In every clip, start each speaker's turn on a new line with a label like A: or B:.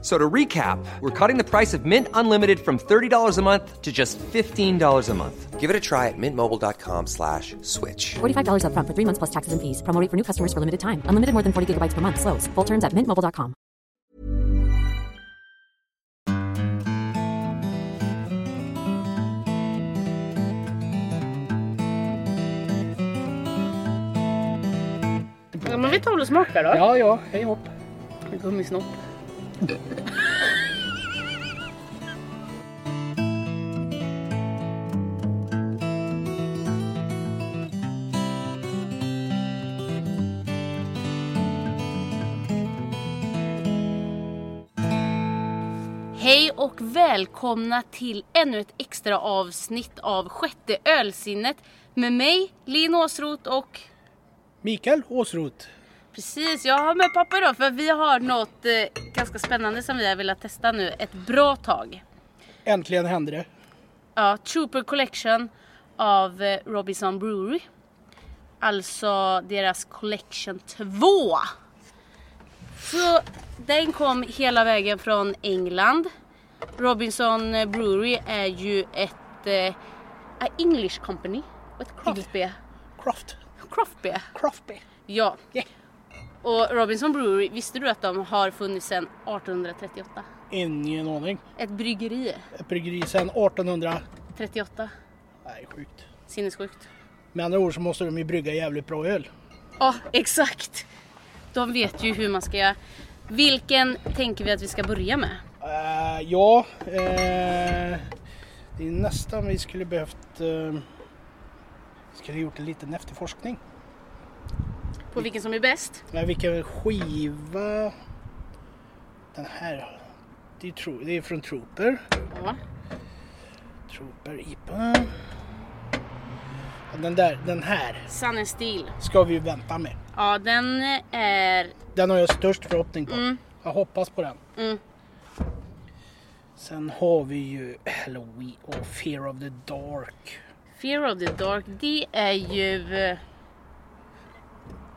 A: So to recap, we're cutting the price of Mint Unlimited from $30 a month to just $15 a month. Give it a try at mintmobile.com slash switch.
B: $45 upfront for three months plus taxes and fees. Promo rate for new customers for limited time. Unlimited more than 40 gigabytes per month. Slows. Full terms at mintmobile.com.
C: Ja, men vi tar väl och smakar då.
D: Ja, ja, hej hopp.
C: Gummisnopp. Hej och välkomna till ännu ett extra avsnitt av sjätte ölsinnet med mig, Linn Åsroth och
D: Mikael Åsroth.
C: Precis, jag har med pappa idag för vi har något eh, ganska spännande som vi har velat testa nu ett bra tag.
D: Äntligen hände det.
C: Ja, Trooper Collection av eh, Robinson Brewery. Alltså deras Collection 2. Så den kom hela vägen från England. Robinson Brewery är ju ett eh, a English company. Och ett craft beer.
D: Craft.
C: Craft beer.
D: Craft beer.
C: Ja.
D: Yeah.
C: Och Robinson Brewery, visste du att de har funnits sedan 1838?
D: Ingen aning.
C: Ett bryggeri,
D: Ett bryggeri sedan 1800.
C: 38.
D: Nej, sjukt.
C: Sinnessjukt.
D: Med andra ord så måste de ju brygga jävligt bra öl.
C: Ja, exakt. De vet ju hur man ska göra. Vilken tänker vi att vi ska börja med?
D: Eh, ja, eh, det är nästan vi skulle behövt... Uh, skulle gjort en liten efterforskning.
C: På vilken som är bäst?
D: Men vilken skiva... Den här. Det är, tro, det är från Trooper.
C: Ja.
D: Trooper IPA. Den där, den här
C: Sun and Steel.
D: ska vi ju vänta med.
C: Ja, den är...
D: Den har jag störst förhoppning på. Jag hoppas på den.
C: Mm.
D: Sen har vi ju Halloween och Fear of the Dark.
C: Fear of the Dark. Det är ju... eh,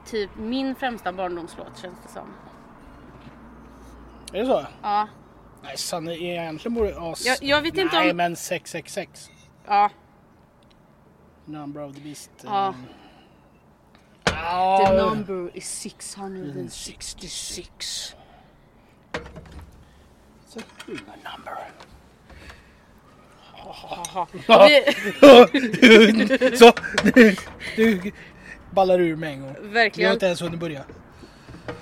C: Typ min främsta barndomslåt känns det som.
D: Är det så?
C: Ja,
D: Nej, Sanne egentligen borde... Ja, s-
C: Jag- jag vet inte
D: Nej,
C: om-
D: men 666.
C: ja.
D: Number of the Beast.
C: ja.
D: ehm,
C: The
D: ja,
C: number is 666.
D: it's a good number.
C: Vi,
D: så! Du, du ballar ur med en gång. Vi har
C: verkligen.
D: inte ens hunnit börja.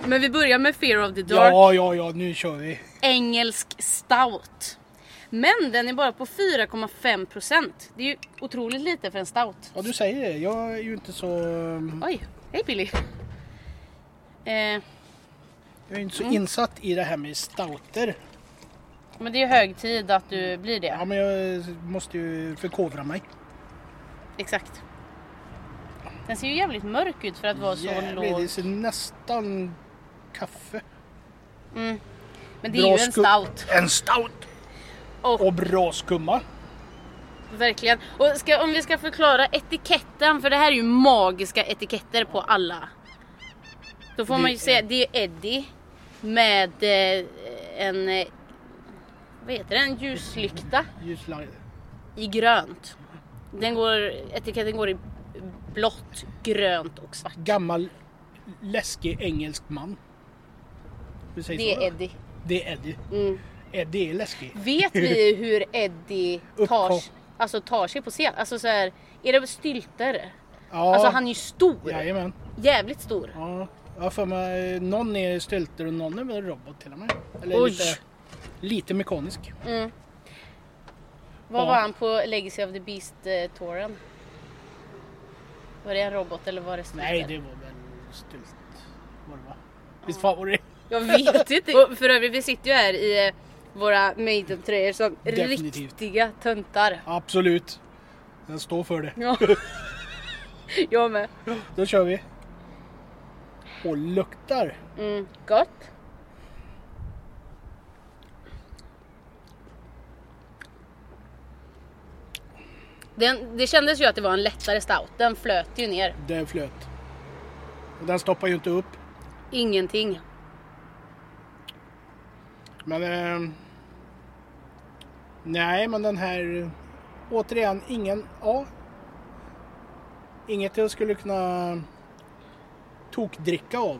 C: Men vi börjar med Fear of the Dark.
D: Ja, ja, ja, nu kör vi.
C: engelsk stout. Men den är bara på 4,5%. Det är ju otroligt lite för en stout.
D: Ja, du säger det. Jag är ju inte så...
C: Oj, hej Billy. Eh,
D: Jag är inte
C: Mm.
D: så insatt i det här med stouter.
C: men det är ju hög tid att du blir
D: Ja,
C: det.
D: men jag måste ju förkovra mig.
C: Exakt. Den ser ju jävligt mörk ut för att vara så
D: Jävligt, det
C: låg.
D: ser nästan kaffe.
C: Men det är ju en
D: skum-
C: stout.
D: En stout!
C: Och-
D: Och bra skumma.
C: Verkligen. Och ska, om vi ska förklara etiketten, för det här är ju magiska etiketter på alla. Då får
D: Det
C: man ju
D: är-
C: säga, det är Eddie med eh, en, eh, vad heter det, en ljuslykta
D: Ljusla-
C: i grönt. Den går, etiketten går i blått, grönt och svart.
D: Gammal läskig engelsk man. Hur säger
C: Det
D: så?
C: är Eddie.
D: Det är Eddie.
C: Mm.
D: Eddie är läskig.
C: Vet vi hur Eddie tar,
D: Uppkom-
C: alltså tar sig på scen? Alltså så här, är det stylter?
D: Ja,
C: Alltså han är ju stor.
D: Jajamän.
C: Jävligt stor.
D: Ja, jag har för mig eh, någon är stylter och någon är väl robot till och med. Eller
C: Oj. Mm.
D: lite, lite mekanisk.
C: Vad
D: Ja.
C: var han på Legacy of the Beast-touren? Var det en robot eller var det snuten?
D: Nej, det var väl stylt. Var det va? Visst fan var det
C: Jag vet inte. Och för övrigt, vi sitter ju här i eh, våra Maiden-tröjor som
D: Definitivt.
C: riktiga töntar.
D: Absolut. Jag står för det.
C: Ja. Jag med.
D: Då kör vi. Och luktar.
C: Mm, gott. Den, det kändes ju att det var en lättare stout. Den flöt ju ner.
D: Den flöt. Och den stoppar ju inte upp.
C: Ingenting.
D: Men... Eh, nej, men den här... eh, Återigen, ingen... Ja. Inget jag skulle kunna tokdricka av.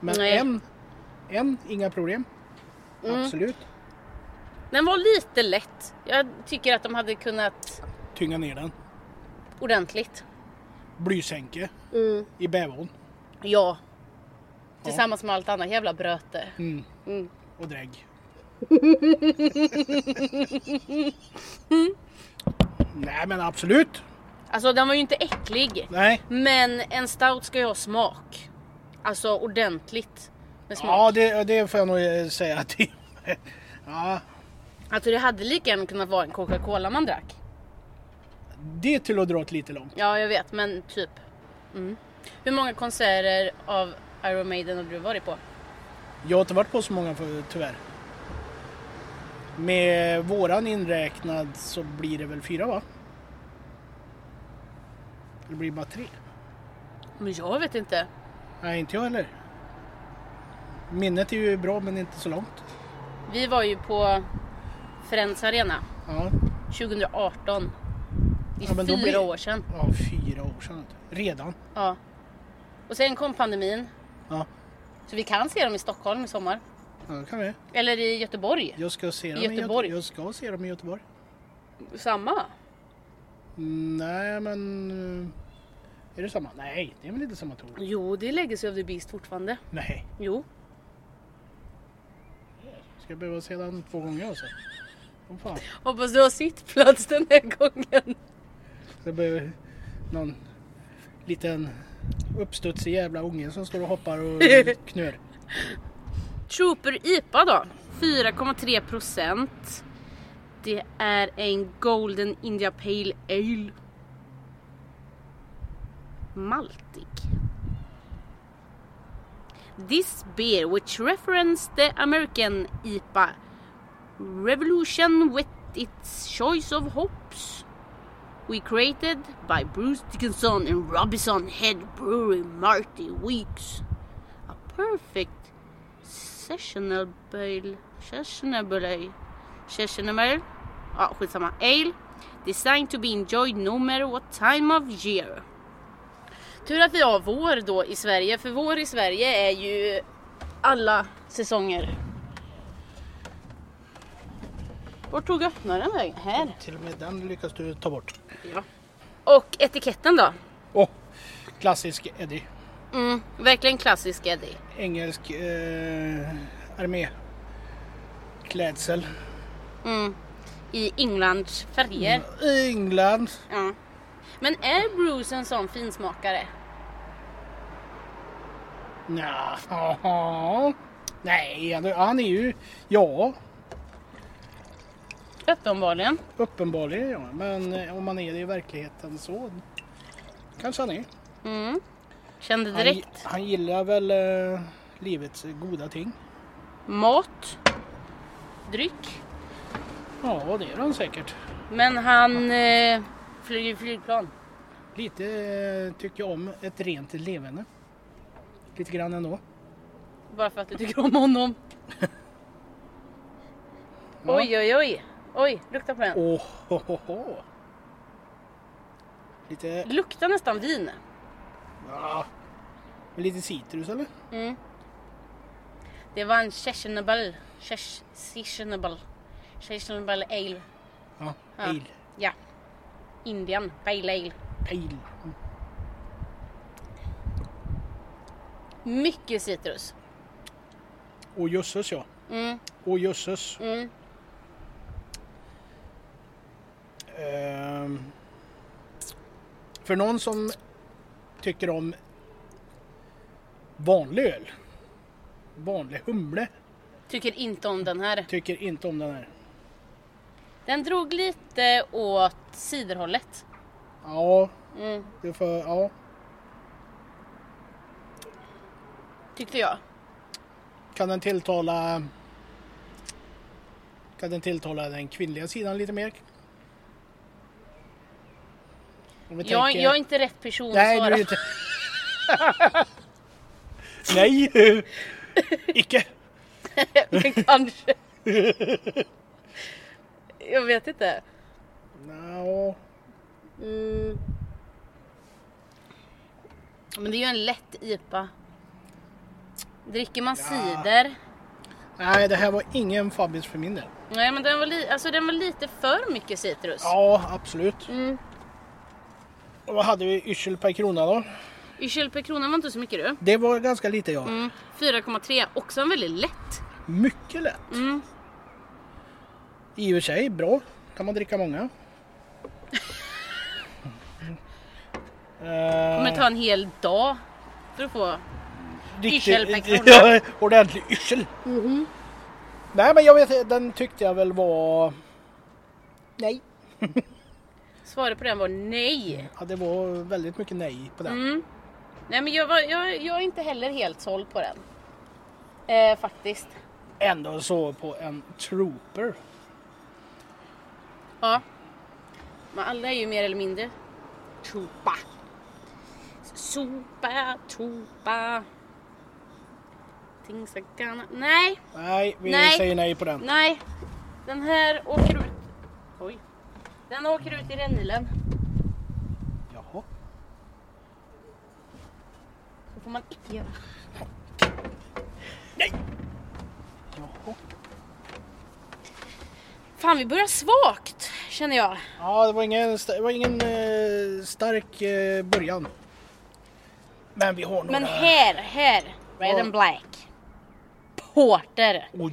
D: Men
C: Nej.
D: en, en, inga problem. Absolut.
C: Den var lite lätt. Jag tycker att de hade kunnat
D: Tynga ner den.
C: ordentligt.
D: Blysänke. I bävern.
C: Ja. Tillsammans med allt annat jävla bröte.
D: Och drägg. Nej men absolut.
C: Alltså den var ju inte äcklig.
D: Nej.
C: Men en stout ska ju ha smak. Alltså ordentligt med smak.
D: Ja det, det får jag nog eh, säga att det Ja,
C: Alltså det hade lika gärna kunnat vara en Coca-Cola man drack.
D: det är till att dra åt lite långt.
C: Ja, jag vet, men typ. Mm. Hur många konserter av Iron Maiden har du varit på?
D: Jag har inte varit på så många för, tyvärr. Med våran inräknad så blir det väl fyra va? Det blir det bara tre.
C: Men jag vet inte.
D: Nej inte jag heller. Minnet är ju bra men inte så långt.
C: Vi var ju på Friends Arena
D: Ja,
C: 2018. Det är
D: Ja, men då
C: fyra
D: blir-
C: år sedan.
D: ja fyra år sedan. Redan.
C: Ja. Och sen kom pandemin.
D: Ja,
C: Så vi kan se dem i Stockholm i sommar.
D: ja det kan vi.
C: Eller i Göteborg.
D: Jag ska se dem
C: Göteborg.
D: I Göte- jag ska se dem i Göteborg.
C: Samma.
D: Mm, Nej men... eh, Är det samma? Nej, det är väl inte samma tour?
C: Jo, det är Legacy of the Beast fortfarande.
D: Nej.
C: Jo.
D: Ska jag behöva se den två gånger alltså? Åh fan.
C: Hoppas du har sittplats den här gången.
D: Det blir någon liten uppstudsig jävla unge som står och hoppar och knör.
C: Trooper IPA då. 4,3 procent. Det är en Golden India Pale Ale. Maltig. This beer, which referenced the American IPA revolution with its choice of hops, we created by Bruce Dickinson and Robinson Head Brewery Marty Weeks. A perfect Sessionable... Sessionable... Sessionable... Ja, skitsamma. Ale. Designed to be enjoyed no matter what time of year. Tur att vi har vår då i Sverige, för vår i Sverige är ju alla säsonger. Vart tog öppnaren vägen? Här.
D: Till och med den lyckas du ta bort.
C: Ja. Och etiketten då?
D: Åh! klassisk Eddie.
C: Mm, verkligen klassisk Eddie.
D: Engelsk eh, arméklädsel.
C: I Englands färger.
D: England.
C: Ja. Men är Bruce en sån finsmakare?
D: Nja, jaha. Nej, han- han är ju... Ja,
C: Uppenbarligen.
D: uppenbarligen ja. Men eh, om man är det i verkligheten så kanske han är.
C: Kände
D: Han,
C: direkt.
D: han gillar väl eh, livets goda ting.
C: Mat. Dryck.
D: Ja, det är han säkert.
C: Men han eh, flyger flygplan.
D: Lite eh, tycker jag om ett rent levande. Lite grann ändå.
C: Bara för att du tycker om honom. Oj, oj, oj. Oj, lukta på den.
D: Åh, ho, ho, ho. Lite,
C: Luktar nästan vin.
D: ja, med lite citrus eller?
C: Det var en sessionable. ses- Sessionable. Sessionable ale.
D: Ja, pale.
C: Ja. Indian. Pale ale.
D: Pale.
C: Mycket citrus.
D: Åh jösses ja. Åh jösses. Ehm, för någon som tycker om vanlig öl, vanlig humle,
C: Tycker inte om den här.
D: tycker inte om den här.
C: Den drog lite åt ciderhållet.
D: Ja, det får, ja,
C: Tyckte jag.
D: kan den tilltala kan den tilltala den kvinnliga sidan lite mer? Om vi
C: Jag,
D: tänker-
C: jag är inte rätt person
D: Nej,
C: att
D: du
C: svara
D: är inte... Nej! Icke!
C: Men kanske. jag vet inte.
D: No.
C: Mm. Men det är ju en lätt IPA. Dricker man cider?
D: Nej, det här var ingen Fabbis för min del.
C: Nej men den var, li- alltså, den var lite för mycket citrus.
D: Ja, absolut.
C: Mm.
D: Och vad hade vi? Yrsel per krona då?
C: Yrsel per krona var inte så mycket du.
D: Det var ganska lite ja.
C: Mm. 4,3, också en väldigt lätt.
D: Mycket lätt.
C: Mm.
D: I och för sig bra. Kan man dricka många. Eh,
C: Kommer ta en hel dag för att få.
D: riktigt-
C: yrsel per krona. Mm-hmm.
D: Ja, ordentlig yrsel. Nej men jag vet den tyckte jag väl var... Nej.
C: Svaret på den var nej.
D: Ja, det var väldigt mycket nej på den.
C: Nej men jag, var, jag, jag är inte heller helt såld på den. Eh, faktiskt.
D: Ändå så på en trooper.
C: Ja. Men alla är ju mer eller mindre topa. Sopa, topa. Things are gonna... Nej,
D: Nej, vi
C: Nej.
D: säger nej på den.
C: nej. Den här åker ut... Oj. Den åker ut i rännilen.
D: Jaha.
C: Så får man icke göra.
D: Jaha.
C: Fan, vi börjar svagt känner jag.
D: Ja, det var ingen, sta- det var ingen eh, stark eh, början. Men vi har några...
C: Men här, här. Red
D: Ja.
C: and black. Porter.
D: Oj!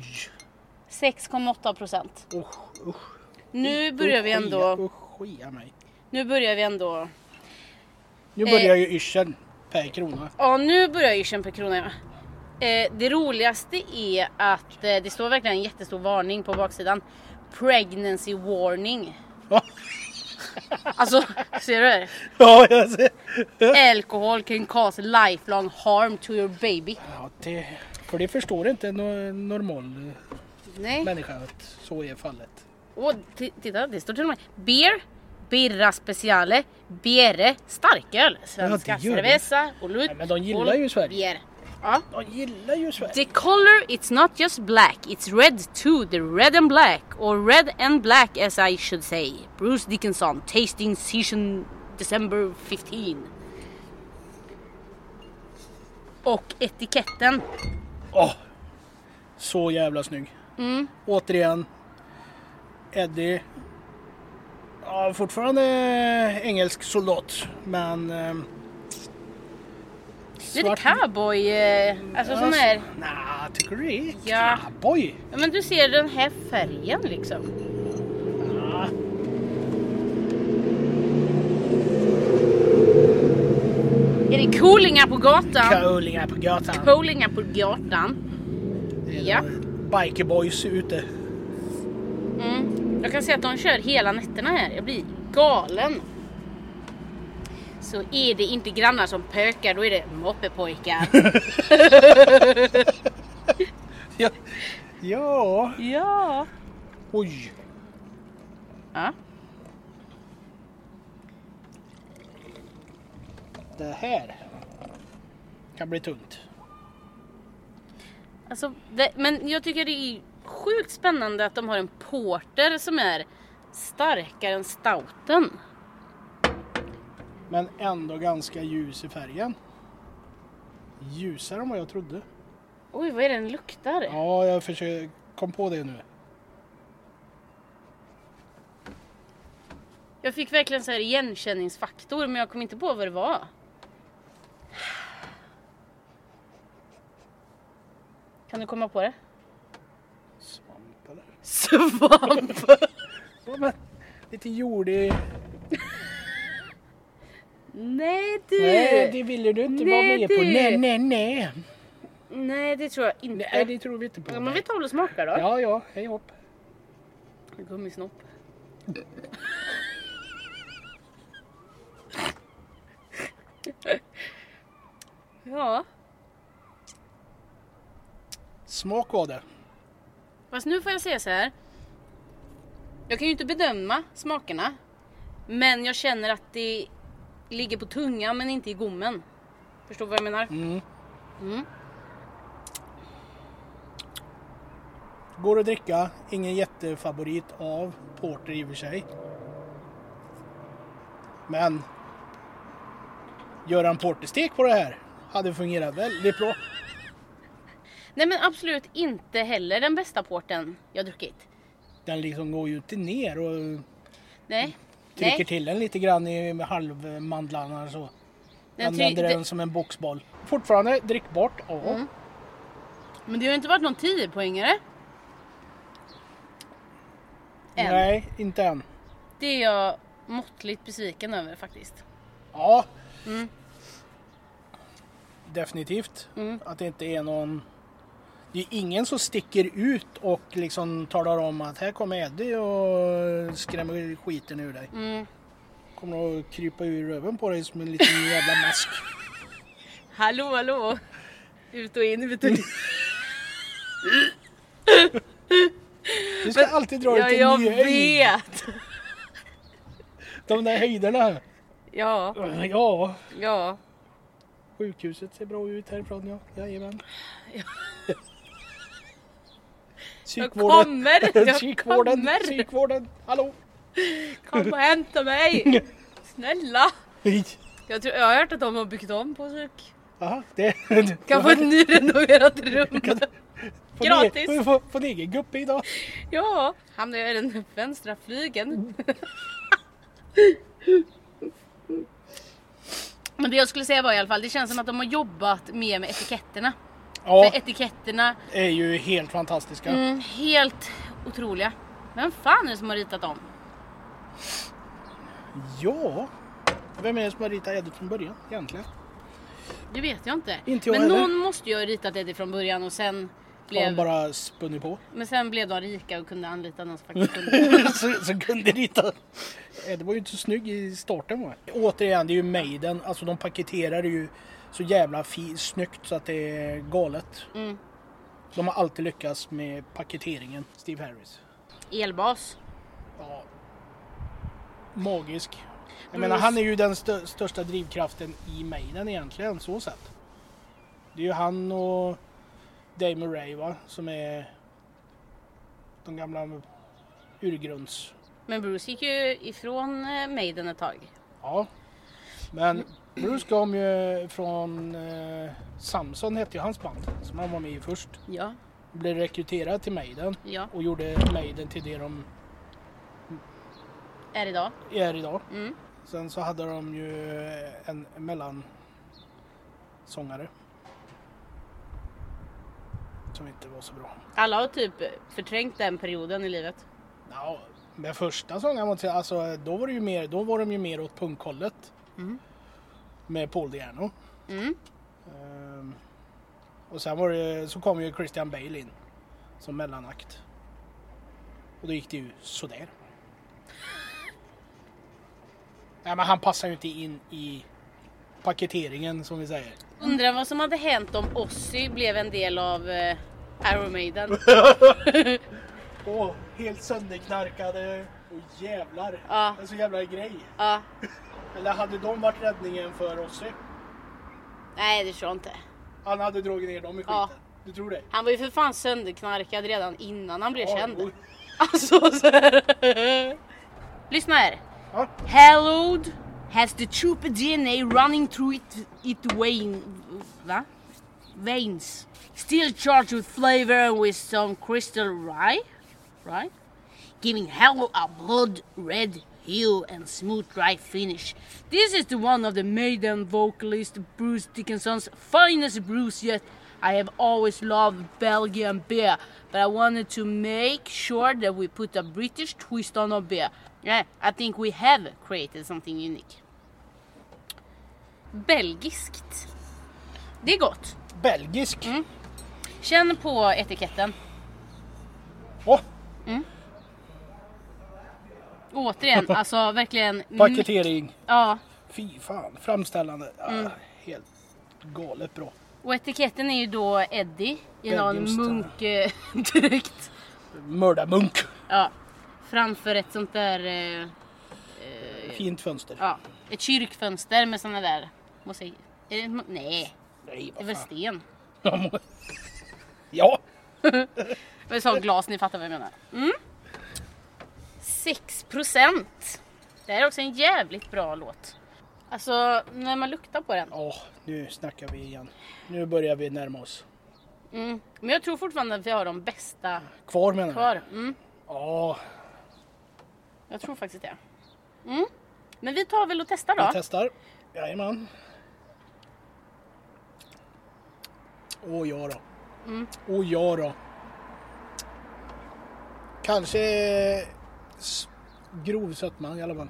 C: 6,8 procent.
D: Usch, usch.
C: Nu börjar vi
D: Usch,
C: ändå...
D: Usch, skia mig.
C: Nu börjar vi ändå... Eh.
D: Nu börjar ju yrseln per krona.
C: Ja, nu börjar ju kämpa krona. ja. Eh, det roligaste är att eh, det står verkligen en jättestor varning på baksidan. Pregnancy warning.
D: Ja,
C: Alltså, ser du? det?
D: ja jag ser.
C: Alcohol can cause lifelong harm to your baby.
D: Ja, det, för det förstår inte en no- normal
C: Nej.
D: människa att så är fallet.
C: Och t- titta, det står till och med beer, birra speciale, bere, starköl, svenska
D: Ja, det gör det.
C: cerveza, olut,
D: Ja, men de gillar ju
C: ol-
D: Sverige.
C: Bier. Ja.
D: De gillar ju Sverige.
C: The color it's not just black, it's red too, the red and black, or red and black as I should say. Bruce Dickinson, tasting season December 15. Och etiketten.
D: Åh! så jävla snygg.
C: Mm.
D: Återigen. Eddie. Ja, fortfarande engelsk soldat. Men... ehm,
C: Lite
D: svart-
C: cowboy, eh, alltså
D: Ja,
C: sån här.
D: Nja, tycker du det?
C: Ja.
D: Cowboy?
C: Ja, Men du ser den här färgen liksom.
D: Ja.
C: Är det coolingar på gatan?
D: Cowlingar på gatan.
C: Coolingar på gatan.
D: Det är
C: ja.
D: Bikerboys ute.
C: Mm. Jag kan se att de kör hela nätterna här. Jag blir galen. Så är det inte grannar som pökar, då är det moppepojkar.
D: Ja. ja.
C: ja.
D: Oj.
C: ja.
D: Det här kan bli tungt.
C: Alltså, det, men jag tycker det är sjukt spännande att de har en porter som är starkare än stouten.
D: Men ändå ganska ljus i färgen. Ljusare än vad jag trodde.
C: Oj, vad är det den luktar?
D: Ja, jag försöker kom på det nu.
C: Jag fick verkligen så här igenkänningsfaktor, men jag kom inte på vad det var. Kan du komma på det?
D: Svamp eller?
C: Svamp!
D: Men, lite jordig...
C: Nej du!
D: Nej, det ville du inte vara
C: Nej,
D: med
C: du.
D: på. Nej, nej, nej.
C: Nej, det tror jag inte.
D: Nej, det tror vi inte på.
C: ja, men vi tar väl och smakar då.
D: Ja, ja, hej hopp.
C: Gummisnopp. ja,
D: Smak var det.
C: fast nu får jag säga så här. Jag kan ju inte bedöma smakerna. Men jag känner att det ligger på tungan men inte i gommen. Förstår du vad jag menar?
D: Mm. Går att dricka, ingen jättefavorit av Porter i och för sig. Men göra en Porterstek på det här hade fungerat väldigt bra.
C: Nej men absolut inte heller den bästa porten jag druckit.
D: Den liksom går ju till ner och
C: Nej.
D: Mm. trycker
C: Nej.
D: till en lite grann i halvmandlarna och så.
C: Den
D: Använder
C: try-
D: den som en boxboll. Fortfarande drickbart, ja.
C: Mm, Men det har ju inte varit någon 10-poängare. Än.
D: Nej, inte än.
C: Det är jag måttligt besviken över faktiskt.
D: Ja.
C: Mm.
D: Definitivt.
C: Mm.
D: Att det inte är någon... Det är ingen som sticker ut och liksom talar om att här kommer Eddie och skrämmer skiten ur dig.
C: Mm.
D: Kommer att krypa ur röven på dig som en liten jävla mask.
C: Hallå hallå! Ut och in vet du.
D: Du ska alltid dra dig
C: Ja,
D: till
C: jag
D: ny höjd.
C: vet!
D: De där höjderna.
C: Ja,
D: Ja,
C: ja.
D: sjukhuset ser bra ut härifrån ja. Jajamän.
C: Jag
D: Psykvården.
C: kommer! Jag
D: Psykvården.
C: kommer!
D: Psykvården. Hallå.
C: Kom och hämta mig! Snälla!
D: Nej.
C: Jag, tror, jag har hört att de har byggt om på psyk.
D: Aha, det...
C: Kan få ett nyrenoverat rum.
D: Får
C: gratis.
D: Ni, får, får ni egen guppe idag?
C: Ja, hamnar jag i den vänstra flygeln. Men det jag skulle säga var i alla fall, det känns som att de har jobbat mer med etiketterna.
D: Ja,
C: För etiketterna,
D: är ju helt fantastiska.
C: mm, helt otroliga. Vem fan är det som har ritat dem?
D: Ja, vem är det som har ritat Eddie från början egentligen?
C: Det vet jag inte.
D: Inte jag
C: Men
D: heller.
C: någon måste ju ha ritat det från början och sen
D: Har
C: blev,
D: de bara spunnit på?
C: men sen blev de rika och kunde anlita någon som faktiskt kunde.
D: så, så kunde rita. Eddie var ju inte så snygg i starten va? Återigen, det är ju Maiden. Alltså de paketerar det ju så jävla fi- snyggt så att det är galet. De har alltid lyckats med paketeringen. Steve Harris.
C: Elbas.
D: Ja. Magisk. Jag menar han är ju den stö- största drivkraften i Maiden egentligen så sett. Det är ju han och Dave Murray va, som är de gamla urgrunds...
C: Men Bruce gick ju ifrån eh, Maiden ett tag.
D: Ja. Men Bruce kom ju från eh, Samson hette ju hans band som han var med i först.
C: Ja,
D: Blev rekryterad till Maiden
C: ja.
D: och gjorde Maiden till det de
C: Är idag.
D: är idag.
C: Mm.
D: Sen så hade de ju en mellansångare. Som inte var så bra.
C: Alla har typ förträngt den perioden i livet.
D: Ja, men första sångaren, var till- alltså, då, var det ju mer, då var de ju mer åt punkhållet. Med Paul Diano.
C: Mm.
D: Ehm, och sen var det, så kom ju Christian Bale in. Som mellanakt. Och då gick det ju sådär. Nej men han passar ju inte in i paketeringen som vi säger.
C: Undrar vad som hade hänt om Ozzy blev en del av eh, Iron Maiden.
D: Åh, helt sönderknarkade. Och jävlar.
C: Ja.
D: En så jävla grej.
C: ja.
D: Eller hade de varit räddningen för oss?
C: Nej det tror jag inte.
D: Han hade dragit ner dem i skiten.
C: Ja.
D: Du tror det?
C: Han var ju för fan sönderknarkad redan innan han blev
D: Ja, jo.
C: känd. Alltså så här. Lyssna här.
D: Ja.
C: Hallowed has the trooper DNA running through it, it vein, va? veins. Still charged with flavor and with some crystal rye, right? Giving Hello a blood red hue and smooth dry finish. This is the one of the maiden vocalist Bruce Dickinson's finest brews yet. I have always loved Belgian beer, but I wanted to make sure that we put a British twist on our beer. Yeah, I think we have created something unique. Belgiskt. Det är gott.
D: Belgisk.
C: Mm. Känn på etiketten.
D: Åh,
C: Mm. Återigen, alltså verkligen.
D: paketering.
C: Ja,
D: Fy fan, framställande.
C: Mm.
D: Ah, helt galet bra.
C: och etiketten är ju då Eddie i någon
D: Belgiumskt, ja.
C: munkdräkt.
D: Mördarmunk.
C: Ja, framför ett sånt där... eh,
D: Fint fönster.
C: Ja, Ett kyrkfönster med såna där mosaik... Är det, mo- nej,
D: Nej,
C: det
D: vad
C: är väl
D: fan.
C: sten?
D: Ja,
C: Jag sa glas, ni fattar vad jag menar. Mm. 6%. Det här är också en jävligt bra låt. Alltså, när man luktar på den.
D: Åh, nu snackar vi igen. Nu börjar vi närma oss.
C: Mm. Men jag tror fortfarande att vi har de bästa
D: Kvar menar du?
C: kvar. Mm.
D: Ja,
C: Jag tror faktiskt det. Mm. Men vi tar väl och testar
D: vi
C: då.
D: testar. Jajamän. Åh ja då.
C: Mm.
D: Åh ja då. Kanske s- grov sötma i alla fall.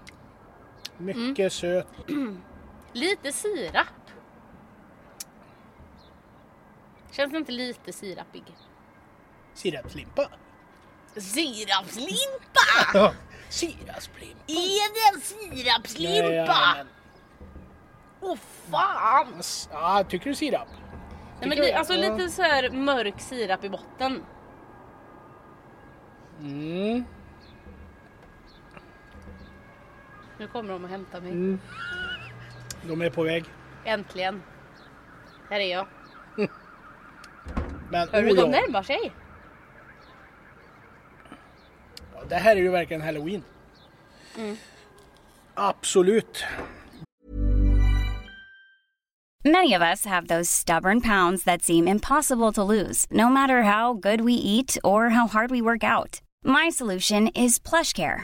D: Mycket
C: Mm.
D: söt.
C: Lite sirap. Känns det inte lite sirapig?
D: Sirapslimpa.
C: Sirapslimpa!
D: Ja. Sirapslimpa.
C: Är det en sirapslimpa?
D: Jajamän.
C: Åh fan!
D: Ass- Ja, tycker du sirap?
C: Nej, men
D: Tycker
C: li,
D: jag.
C: alltså
D: Ja.
C: lite så här mörk sirap i botten.
D: Mm.
C: Nu kommer de och hämtar mig.
D: Mm. De är på väg.
C: Äntligen. Här är jag.
D: Men
C: Hör du?
D: oh,
C: De
D: ja.
C: närmar sig.
D: Ja, Det här är ju verkligen halloween.
C: Mm.
D: Absolut.
E: Many of us have those stubborn pounds that seem impossible to lose, no matter how good we eat or how hard we work out. My solution is PlushCare.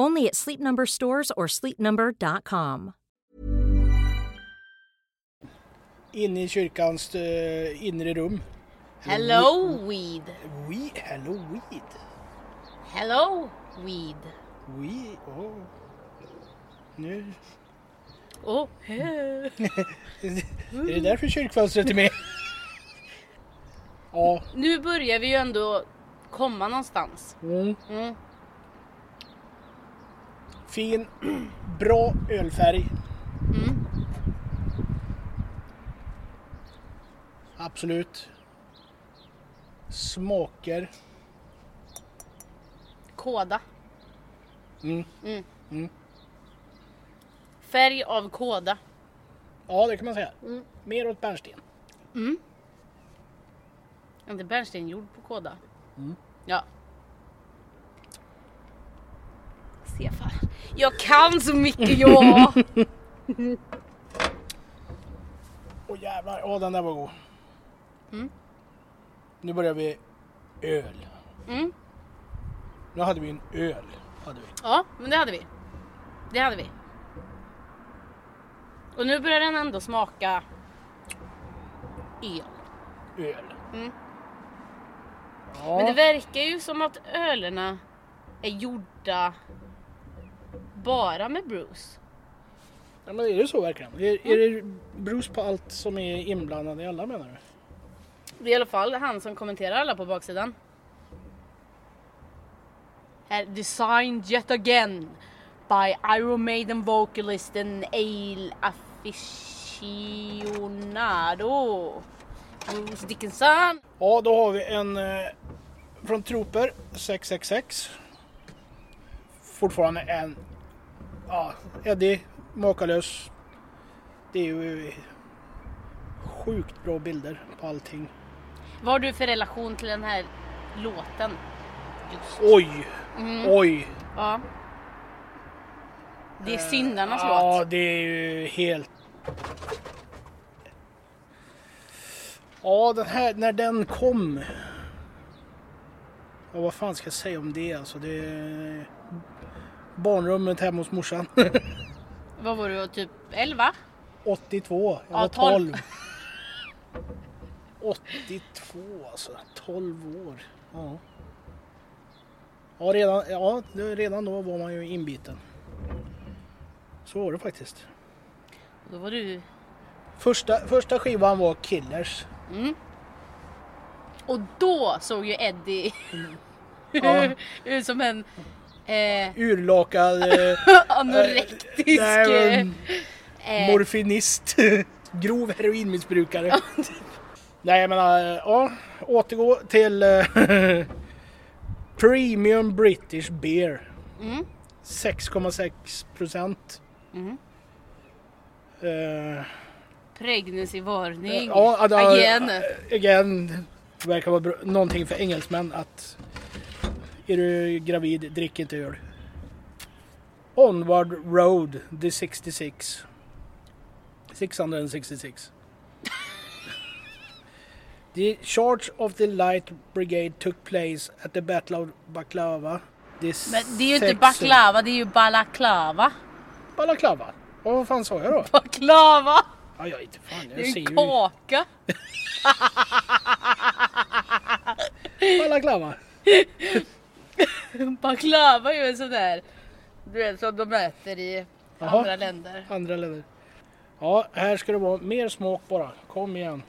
F: Only at Sleep Number stores or sleepnumber.com.
D: Inne i kyrkans eh, inre rum.
C: Hello weed.
D: We, hello weed.
C: Hello weed.
D: We, oh. Nu.
C: Oh.
D: Är det därför kyrkfönstret är med? ja.
C: Nu börjar vi ju ändå komma någonstans.
D: Mm.
C: Mm.
D: Fin, bra ölfärg. Absolut. Smaker.
C: Kåda.
D: Mm.
C: Mm. Färg av kåda.
D: Ja, det kan man säga. Mer åt bärnsten.
C: Är inte bärnsten gjord på kåda? Ja. Se fan. Jag kan så mycket jag!
D: Åh jävlar, åh den där var god. Nu börjar vi öl.
C: Mm.
D: Nu hade vi en öl. Hade vi.
C: ja, men det hade vi. Det hade vi. Och nu börjar den ändå smaka el.
D: Öl.
C: Mm. Men det
D: Ja,
C: verkar ju som att ölerna är gjorda bara med Bruce.
D: ja, men är det så verkligen? Är, är det brus på allt som är inblandat i alla menar du?
C: Det är i alla fall han som kommenterar alla på baksidan. Här, designed yet again by Iron Maiden vocalisten Ale Aficionado. Bruce Dickinson.
D: Ja, då har vi en eh, från Trooper 666. Fortfarande en ja, Eddie, makalös. Det är ju sjukt bra bilder på allting.
C: Vad har du för relation till den här låten? Just.
D: Oj, oj.
C: Ja. Det är syndarnas låt.
D: Ja, det är ju helt... Ja, den här, när den kom. Ja, vad fan ska jag säga om det alltså? Det är barnrummet hemma hos morsan.
C: Vad var du, typ 11?
D: 82, jag
C: Ja,
D: var 12.
C: tolv.
D: 82 alltså, 12 år. Ja. Ja, redan, ja, det- redan då var man ju inbiten. Så var det faktiskt.
C: Då var du...
D: Första, första skivan var Killers.
C: Och då såg ju Eddie
D: Ja,
C: ut som en eh,
D: urlakad eh,
C: anorektisk...
D: nej,
C: eh,
D: men- morfinist. Grov heroinmissbrukare. Nej, jag menar, eh, ja, återgå till eh, Premium British Beer. 6,6 procent. Eh,
C: Pregnancy-varning.
D: ja, ja, ja,
C: Again.
D: Again. Det verkar vara bra, någonting för engelsmän att är du gravid, drick inte öl. Onward Road, the 66. 666. the charge of the light brigade took place at the battle of Baklava. The
C: Men det är ju inte
D: sex-
C: baklava, det är ju balaklava.
D: Balaklava? Ja, vad fan sa jag då?
C: Baklava!
D: Ja, jag inte fan. Jag
C: Det är
D: ser
C: ju
D: ju
C: en kaka.
D: Balaklava.
C: Baklava är ju en sån där, du vet som de äter i
D: Jaha.
C: andra länder.
D: Andra länder. Ja, här ska det vara mer smak bara. Kom igen.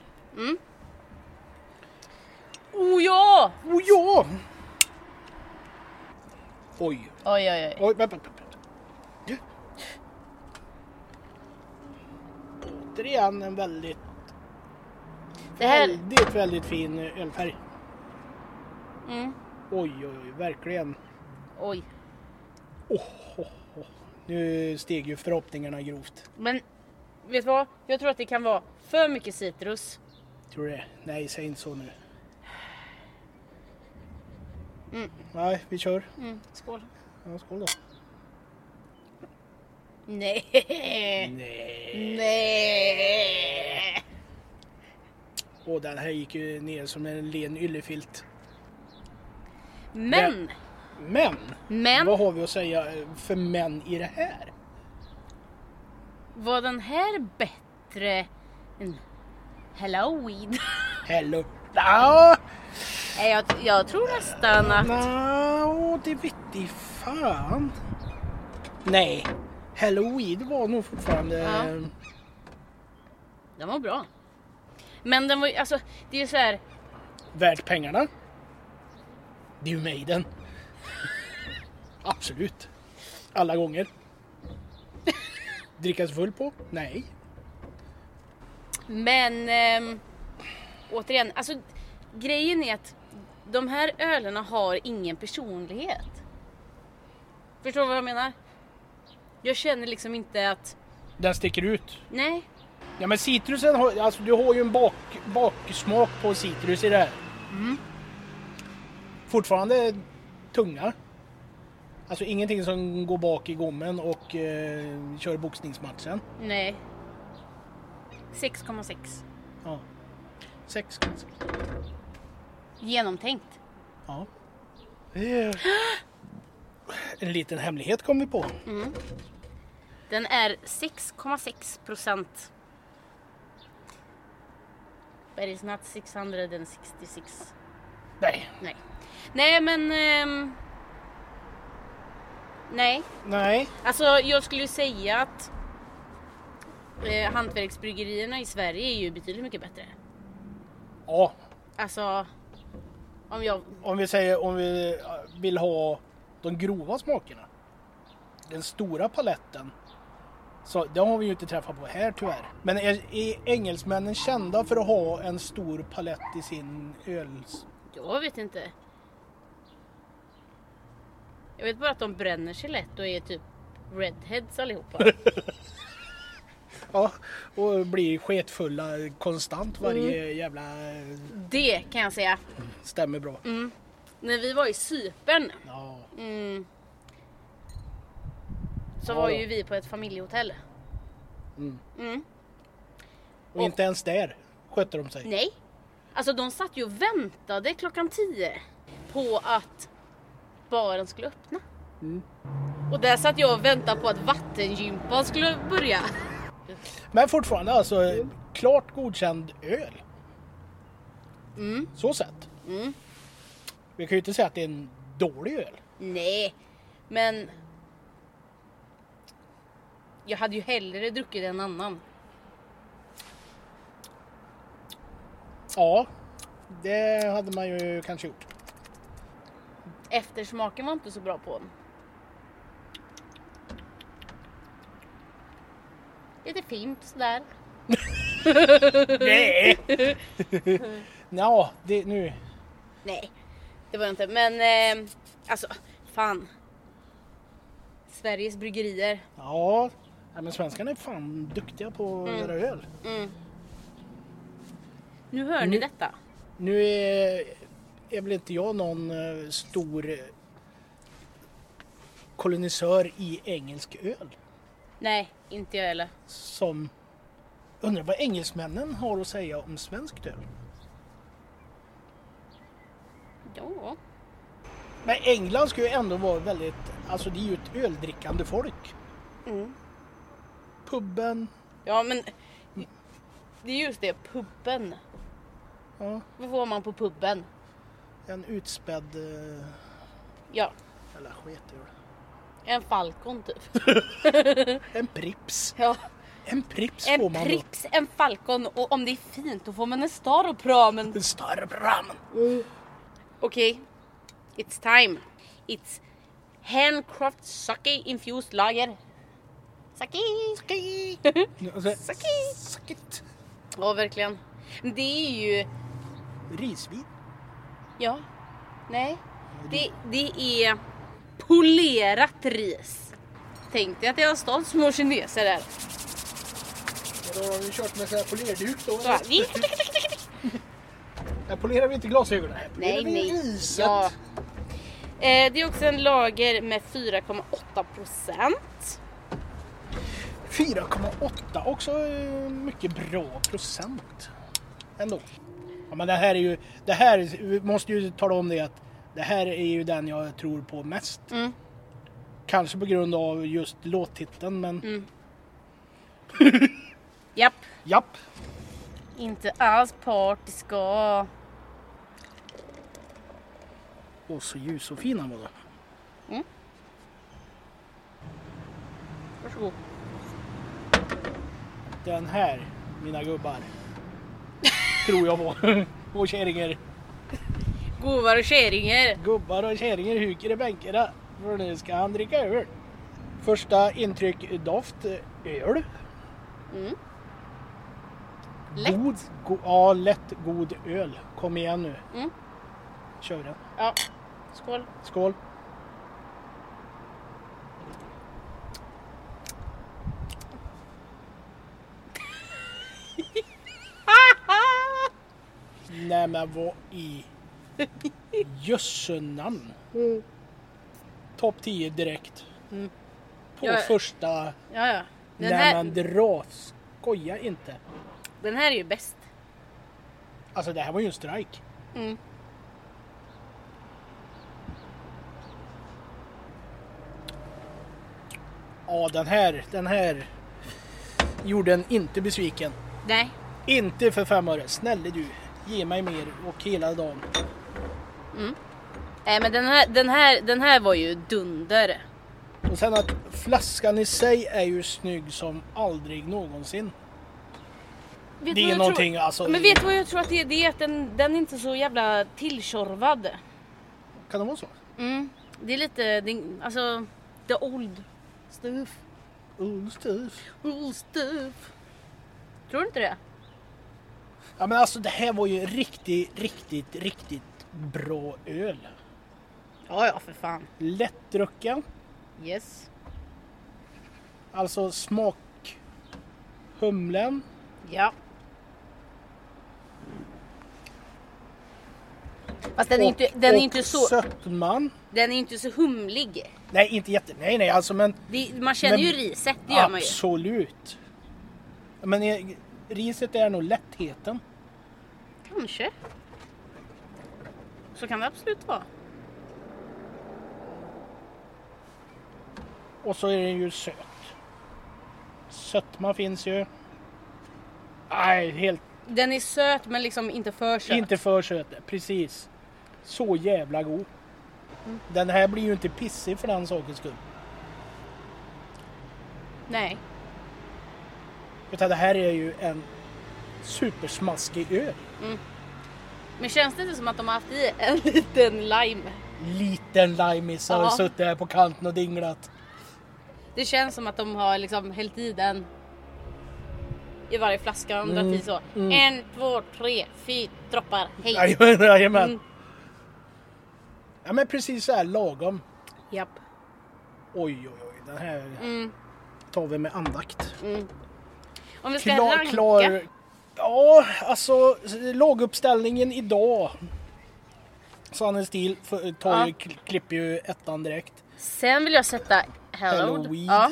C: Oh ja!
D: Oh ja! Oj,
C: Oj oj oj.
D: oj, vänta, vänta. vänta. Återigen en väldigt,
C: Det här,
D: väldigt, väldigt fin ölfärg. Oj, oj, oj, verkligen.
C: oj.
D: Nu steg ju förhoppningarna grovt.
C: Men vet du vad? Jag tror att det kan vara för mycket citrus.
D: Tror du det? Nej, säg inte så nu. Nej, vi kör.
C: Mm. Skål.
D: Ja, skål då.
C: Nej.
D: Nej.
C: Nej.
D: Och den här gick ju ner som en len yllefilt.
C: Men.
D: Men,
C: Men.
D: vad har vi att säga eh, för män i det här?
C: Var den här bättre än Halloween?
D: Hello! Ah, Ja,
C: Nej, jag, jag tror nästan att...
D: no, det vet i fan. Nej, Halloween var nog fortfarande... eh,
C: Ja. Den var bra. Men den var ju, alltså det är ju så här.
D: värt pengarna. Det är ju Maiden. Absolut. Alla gånger. Dricka sig full på? Nej.
C: Men ehm, återigen, alltså grejen är att de här ölerna har ingen personlighet. Förstår du vad jag menar? Jag känner liksom inte att,
D: Den sticker ut.
C: nej,
D: Ja men citrusen har, alltså du har ju en bak, baksmak på citrus i det här. Mm. Fortfarande tunga. Alltså ingenting som går bak i gommen och eh, kör boxningsmatchen.
C: nej. 6,6.
D: Ja. Sex kanske.
C: Genomtänkt.
D: Ja. Eh. En liten hemlighet kom vi på.
C: Den är 6,6 procent. But it's not 666.
D: Nej.
C: Nej. Nej men... ehm, nej.
D: Nej.
C: Alltså jag skulle ju säga att eh, hantverksbryggerierna i Sverige är ju betydligt mycket bättre.
D: Ja.
C: Alltså... Om jag...
D: Om vi säger om vi eh, vill ha de grova smakerna. Den stora paletten. Så det har vi ju inte träffat på här tyvärr. Men är, är engelsmännen kända för att ha en stor palett i sin öl?
C: Jag vet inte. Jag vet bara att de bränner sig lätt och är typ redheads allihopa.
D: Ja, och blir sketfulla konstant varje jävla... eh,
C: Det kan jag säga.
D: Stämmer bra.
C: När vi var i Cypern
D: Ja.
C: så
D: Ja
C: var
D: då.
C: ju vi på ett familjehotell.
D: Och inte ens där skötte de sig.
C: Nej, Alltså de satt ju och väntade klockan 10 på att baren skulle öppna. Mm. Och där satt jag och väntade på att vattengympan skulle börja.
D: Men fortfarande alltså klart godkänd öl. Så sett. Vi kan ju inte säga att det är en dålig öl.
C: Nej, men jag hade ju hellre druckit en annan.
D: Ja, det hade man ju kanske gjort.
C: Eftersmaken var inte så bra på. Lite fint sådär.
D: Nej! Nja, det, nu...
C: Nej, det var det inte. Men eh, alltså, fan. Sveriges bryggerier.
D: Ja, nej, men svenskarna är fan duktiga på att göra öl.
C: Nu hör ni detta.
D: Nu är, är väl inte jag någon eh, stor eh, kolonisör i engelsk öl.
C: Nej, inte jag heller.
D: Som undrar vad engelsmännen har att säga om svenskt öl.
C: Ja.
D: Men England ska ju ändå vara väldigt, alltså det är ju ett öldrickande folk.
C: Mm.
D: Pubben,
C: Ja men det är just det, puben.
D: ja,
C: Vad får man på puben?
D: en utspädd eh,
C: Ja,
D: jävla sketöl.
C: en falcon typ.
D: En Pripps.
C: Ja.
D: En Pripps får
C: En
D: man då.
C: prips, en falcon och om det är fint då får man en star och pramen.
D: En större ramen.
C: Okej, it's time. It's handcraft sake infused lager. Sake! Sake!
D: Alltså, Sacket.
C: ja verkligen. Det är ju,
D: Risvin.
C: ja, nej. Det, det är polerat ris. Tänkte jag att jag var stolt små kineser där.
D: Då har vi kört med så här polerduk då.
C: Så här.
D: Här polerar vi inte glasögonen. Här polerar
C: Nej,
D: vi
C: nej.
D: riset.
C: Ja. Eh, det är också en lager med 4,8 procent.
D: 4,8 också eh, mycket bra procent. Ändå. Ja, men det här är ju, det här är- vi måste ju tala om det att det här är ju den jag tror på mest. Kanske på grund av just låttiteln men
C: Japp.
D: japp.
C: Inte alls partisk och...
D: Och så ljus och fin han var då.
C: Varsågod.
D: Den här, mina gubbar, tror jag var. och kärringar.
C: Govar och käringar.
D: Gubbar och kärringar huker i bänkarna för nu ska han dricka öl. Första intryck doft öl.
C: Lätt.
D: God, go, ja, lätt god öl. Kom igen nu.
C: Mm.
D: Kör vi den.
C: Ja. Skål.
D: Skål. Nej men vad i jösse namn.
C: Mm.
D: Topp 10 direkt. På
C: Jag-
D: första...
C: Ja, ja. Den
D: Nej
C: här,
D: men dra, skoja inte.
C: den här är ju bäst.
D: Alltså det här var ju en strike.
C: Mm.
D: Ja den här, den här gjorde en inte besviken.
C: Nej.
D: Inte för fem öre, snälla du. Ge mig mer och hela dagen.
C: Nej Eh, men den här, den här, den här var ju dunder.
D: Och sen att flaskan i sig är ju snygg som aldrig någonsin. Det
C: Vet du
D: är
C: vad jag
D: någonting,
C: tror?
D: alltså,
C: Men
D: det-
C: vet du vad jag tror att det är? Det är att den, den är inte så jävla tilltjorvad.
D: Kan det vara så?
C: Mm. Det är lite, det, är- alltså, the old stuff.
D: Old stuff.
C: Old stuff. Tror du inte det?
D: Ja men alltså det här var ju riktigt, riktigt, riktigt bra öl.
C: Ja, ja för fan.
D: Lättdrucken.
C: Yes.
D: Alltså smak humlen.
C: Ja. Fast den är inte,
D: och-
C: den är
D: och
C: inte så,
D: sötman.
C: den är inte så humlig.
D: Nej inte jätte, nej nej alltså men
C: Det, man känner
D: Men-
C: ju riset, det gör man ju.
D: absolut. Men eh, riset är nog lättheten.
C: Kanske. Så kan det absolut vara.
D: Och så är den ju söt. Sötma finns ju. Nej, helt
C: Den är söt men liksom inte för söt.
D: Inte för söt, precis. Så jävla god. Den här blir ju inte pissig för den sakens skull.
C: Nej.
D: Utan det här är ju en supersmaskig öl.
C: Men känns det inte som att de har haft i en liten lime?
D: Liten limeis har
C: Ja.
D: suttit här på kanten och dinglat.
C: Det känns som att de har liksom hällt i den i varje flaska. De
D: Mm,
C: har dragit i så. En, två, tre, fyra droppar. Hej!
D: Jajamän, Jajamän. Ja men precis så här lagom.
C: Japp.
D: Oj oj oj, den här tar vi med andakt.
C: Om vi ska
D: Klar,
C: ranka.
D: klar. Ja, alltså laguppställningen idag. Sanne Stil för- tar ju, kl- klipper ju ettan direkt.
C: Sen vill jag sätta Hello.
D: Hello Weed.
C: Ja.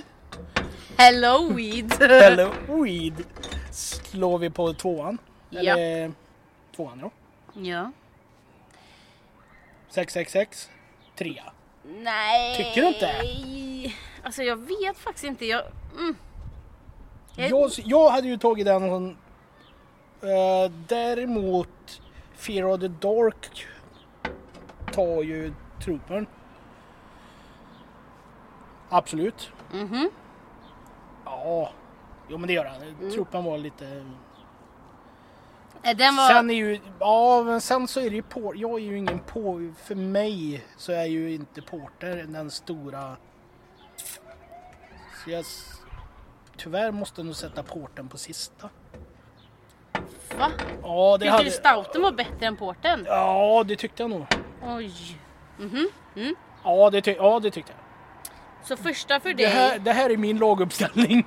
C: Hello Weed.
D: Eller weed. Slår vi på tvåan. Eller tvåan ja.
C: ja.
D: 666. Trea.
C: Nej.
D: Tycker du inte?
C: Alltså jag vet faktiskt inte. Jag... Mm. Jag-
D: Jag, jag hade ju tagit den som... eh, däremot Fear of the Dark tar ju Troopern. Absolut. Mhm. Ja. Jo men det gör han. Troopern var lite...
C: Eh, Den var...
D: Sen är ju, ja men sen så är det ju på, jag är ju ingen på, för mig så är ju inte Porter den stora. Så jag, s- tyvärr måste jag nog sätta Porten på sista.
C: Va?
D: Ja det
C: Tyckte
D: hade,
C: du stouten var bättre än porten?
D: ja det tyckte jag nog.
C: Oj.
D: Ja det, ty, ja, det tyckte jag.
C: Så första för dig.
D: Det här, det här är min laguppställning.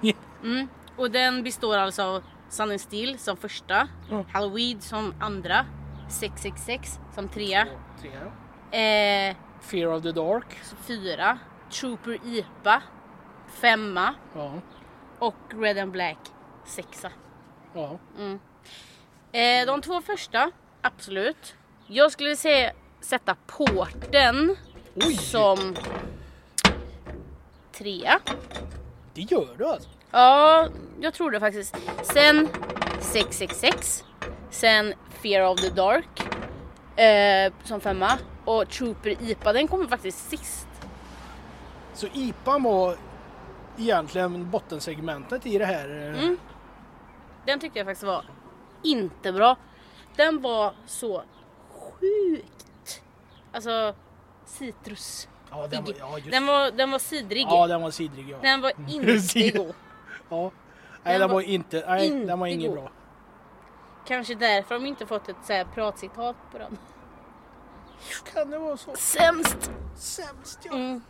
C: Och den består alltså av Sun and Steel som första,
D: Mm.
C: Halloween som andra, 666 som trea, eh,
D: Fear of the Dark.
C: så fyra, Trooper IPA femma
D: Ja.
C: och Red and Black sexa.
D: ja.
C: Eh, de två första, absolut. Jag skulle säga sätta porten som trea.
D: Det gör du alltså.
C: Ja, jag tror det faktiskt. Sen 666. Sen Fear of the Dark. Eh, som femma. Och Trooper IPA, den kommer faktiskt sist.
D: Så IPAn var egentligen bottensegmentet i det här. eh,
C: Mm. Den tyckte jag faktiskt var inte bra. Den var så sjukt. Alltså citrus.
D: Ja, den var, ja, just
C: Den var, den var sidrig.
D: Ja, den var sidrig ja.
C: Den var inte
D: Sidrig.
C: god.
D: ja. Nej, den,
C: var
D: var inte, nej,
C: inte
D: den var ingen
C: god.
D: bra.
C: Kanske därför de inte fått ett så här pratcitat på den.
D: Kan det vara så
C: Sämst!
D: sämst? Ja.
C: Men,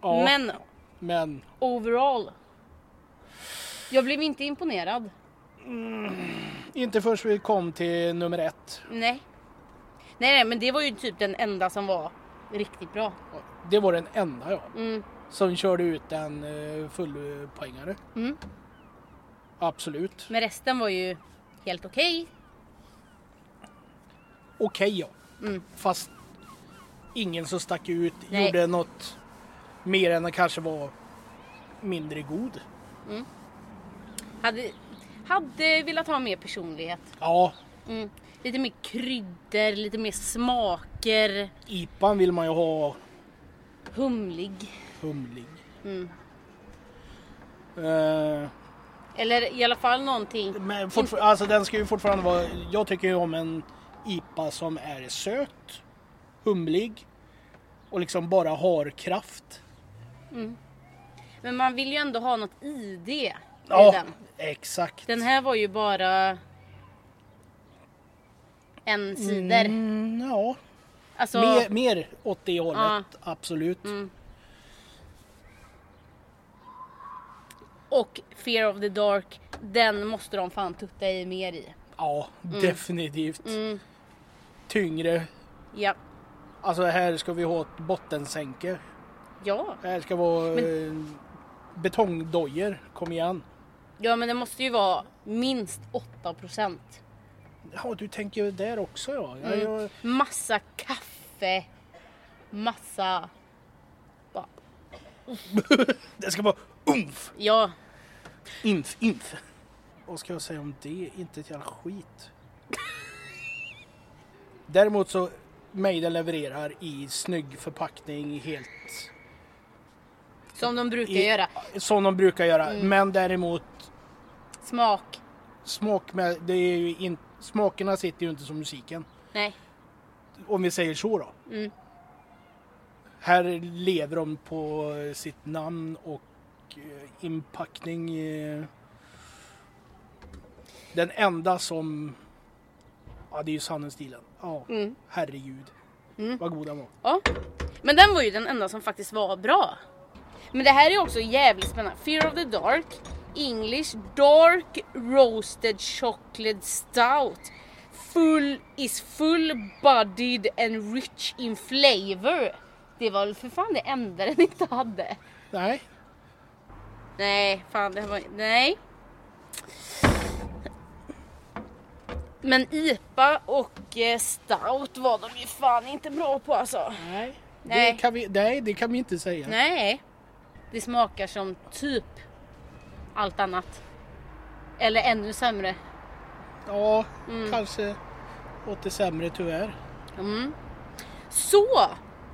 D: ja, men.
C: Mm, men overall. Jag blev inte imponerad.
D: inte först vi kom till nummer ett.
C: Nej. Nej, nej, men det var ju typ den enda som var riktigt bra.
D: Det var den enda ja. Som körde ut en eh, fullpoängare. Absolut.
C: Men resten var ju helt okej.
D: Okej ja. Fast ingen som stack ut
C: Nej.
D: gjorde något mer än att kanske var mindre god.
C: Hade, hade velat ha mer personlighet.
D: Ja,
C: Mm. Lite mer kryddor, lite mer smaker.
D: IPAn vill man ju ha
C: Humlig.
D: humlig. Eh,
C: Eller i alla fall någonting.
D: men fortfar- alltså den ska ju fortfarande vara, jag tycker ju om en IPA som är söt, humlig och liksom bara har kraft.
C: Men man vill ju ändå ha något i det. I
D: Ja,
C: den.
D: exakt.
C: den här var ju bara en cider.
D: Mm, ja,
C: Alltså,
D: mer, mer åt det hållet, absolut.
C: Mm. Och Fear of the Dark, den måste de fan tutta i mer i.
D: Ja,
C: Mm.
D: definitivt. Tyngre.
C: Ja.
D: Alltså här ska vi ha ett bottensänke.
C: Ja.
D: Här ska vara eh, betongdojor. Kom igen.
C: ja, men det måste ju vara minst 8%.
D: Ja, du tänker där också ja.
C: Mm.
D: ja jag,
C: Massa kaffe. Massa... Bara,
D: det ska vara umf,
C: ja,
D: inf, inf. Vad ska jag säga om det? Inte ett jävla skit. Däremot så Meida levererar i snygg förpackning helt
C: som de brukar
D: I-
C: göra.
D: som de brukar göra. Men däremot
C: Smak.
D: smak med, det är ju in, smakerna sitter ju inte som musiken.
C: Nej.
D: Om vi säger så då.
C: Mm.
D: Här lever de på sitt namn och eh, inpackning. eh. Den enda som... Ja, det är ju Sannenstilen. Ja,
C: Mm.
D: herregud. Vad god den var.
C: Ja. Men den var ju den enda som faktiskt var bra. Men det här är också jävligt spännande. Fear of the Dark, English Dark Roasted Chocolate Stout. Full is full bodied and rich in flavor. Det var väl för fan det enda den inte hade.
D: Nej,
C: Nej, fan det här var Nej. Men IPA och eh, stout var de ju fan inte bra på alltså.
D: nej.
C: Nej.
D: Det kan vi, nej, det kan vi inte säga.
C: Nej. Det smakar som typ allt annat. Eller ännu sämre.
D: Ja,
C: Mm.
D: kanske åt det sämre tyvärr.
C: Så!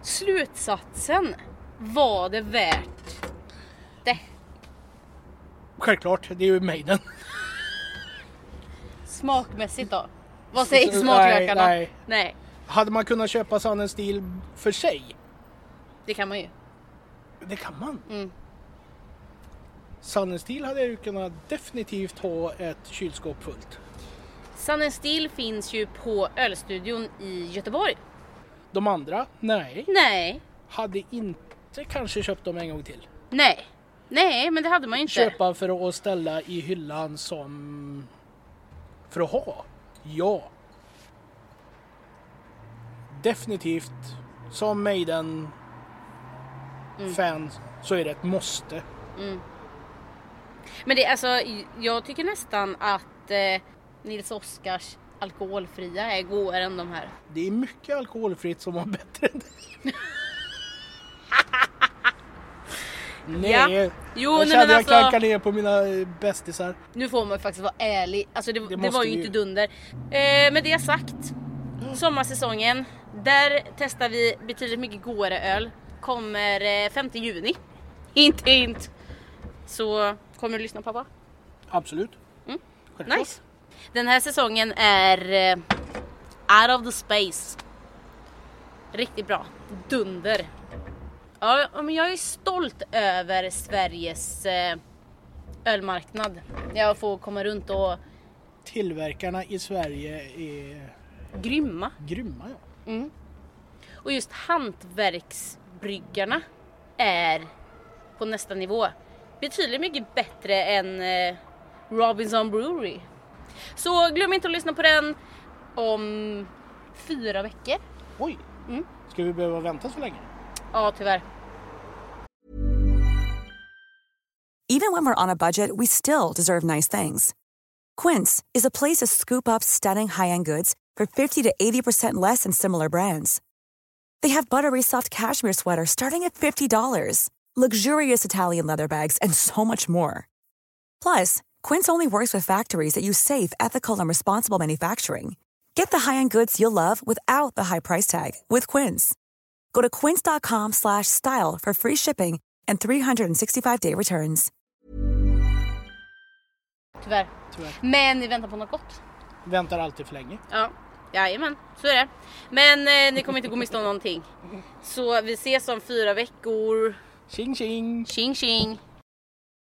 C: Slutsatsen. Var det värt det?
D: Självklart, det är ju Maiden.
C: Smakmässigt då? Vad säger
D: Nej,
C: smaklökarna?
D: nej.
C: nej.
D: Hade man kunnat köpa Sannens stil för sig?
C: Det kan man ju.
D: Det kan man. Mm. Sannens stil hade jag ju kunnat definitivt ha ett kylskåp fullt.
C: Sun Steel finns ju på Ölstudion i Göteborg.
D: De andra, nej.
C: Nej,
D: Hade inte kanske köpt dem en gång till.
C: nej, nej, men det hade man ju inte.
D: Köpa för att ställa i hyllan som... För att ha? Ja. Definitivt. Som Maiden-fan så är det ett måste.
C: Men det, alltså, jag tycker nästan att eh, Nils Oskars alkoholfria är godare än de här.
D: Det är mycket alkoholfritt som var bättre än det. Nej,
C: Ja. Jo,
D: jag
C: nej, men
D: kände jag
C: alltså-
D: klankar ner på mina eh, bästisar.
C: Nu får man faktiskt vara ärlig. Alltså det, det,
D: måste
C: var ju
D: vi
C: inte
D: ju.
C: dunder. Eh, med det sagt. Sommarsäsongen. Där testar vi betydligt mycket godare öl. Kommer eh, 5 juni. Hint hint. Så kommer du lyssna pappa?
D: Absolut. Självklart.
C: Mm. Nice. Den här säsongen är eh, out of the space. Riktigt bra. Dunder. Ja, ja, men jag är stolt över Sveriges eh, ölmarknad. Jag får komma runt och
D: Tillverkarna i Sverige är
C: grymma.
D: grymma. Ja.
C: Och just hantverksbryggarna är på nästa nivå. Betydligt mycket bättre än eh, Robinson Brewery. Så glöm inte att lyssna på den om fyra veckor.
D: Oj, Mm. ska vi behöva vänta så länge?
C: Ja, tyvärr.
G: Even when we're on a budget, we still deserve nice things. Quince is a place to scoop up stunning high end goods for 50 to 80% less than similar brands. They have buttery soft cashmere sweaters starting at $50, luxurious Italian leather bags, and so much more. Plus, Quince only works with factories that use safe, ethical, and responsible manufacturing. Get the high-end goods you'll love without the high price tag with Quince. Go to quince.com/style slash style for free shipping and 365-day returns.
C: tyvärr.
D: Tyvärr.
C: Men ni väntar på något gott.
D: Väntar alltid för länge.
C: Ja, jajamän, så är det. Men eh, ni kommer inte gå miste om någonting. Så vi ses om fyra veckor.
D: Tjing tjing!
C: Tjing tjing!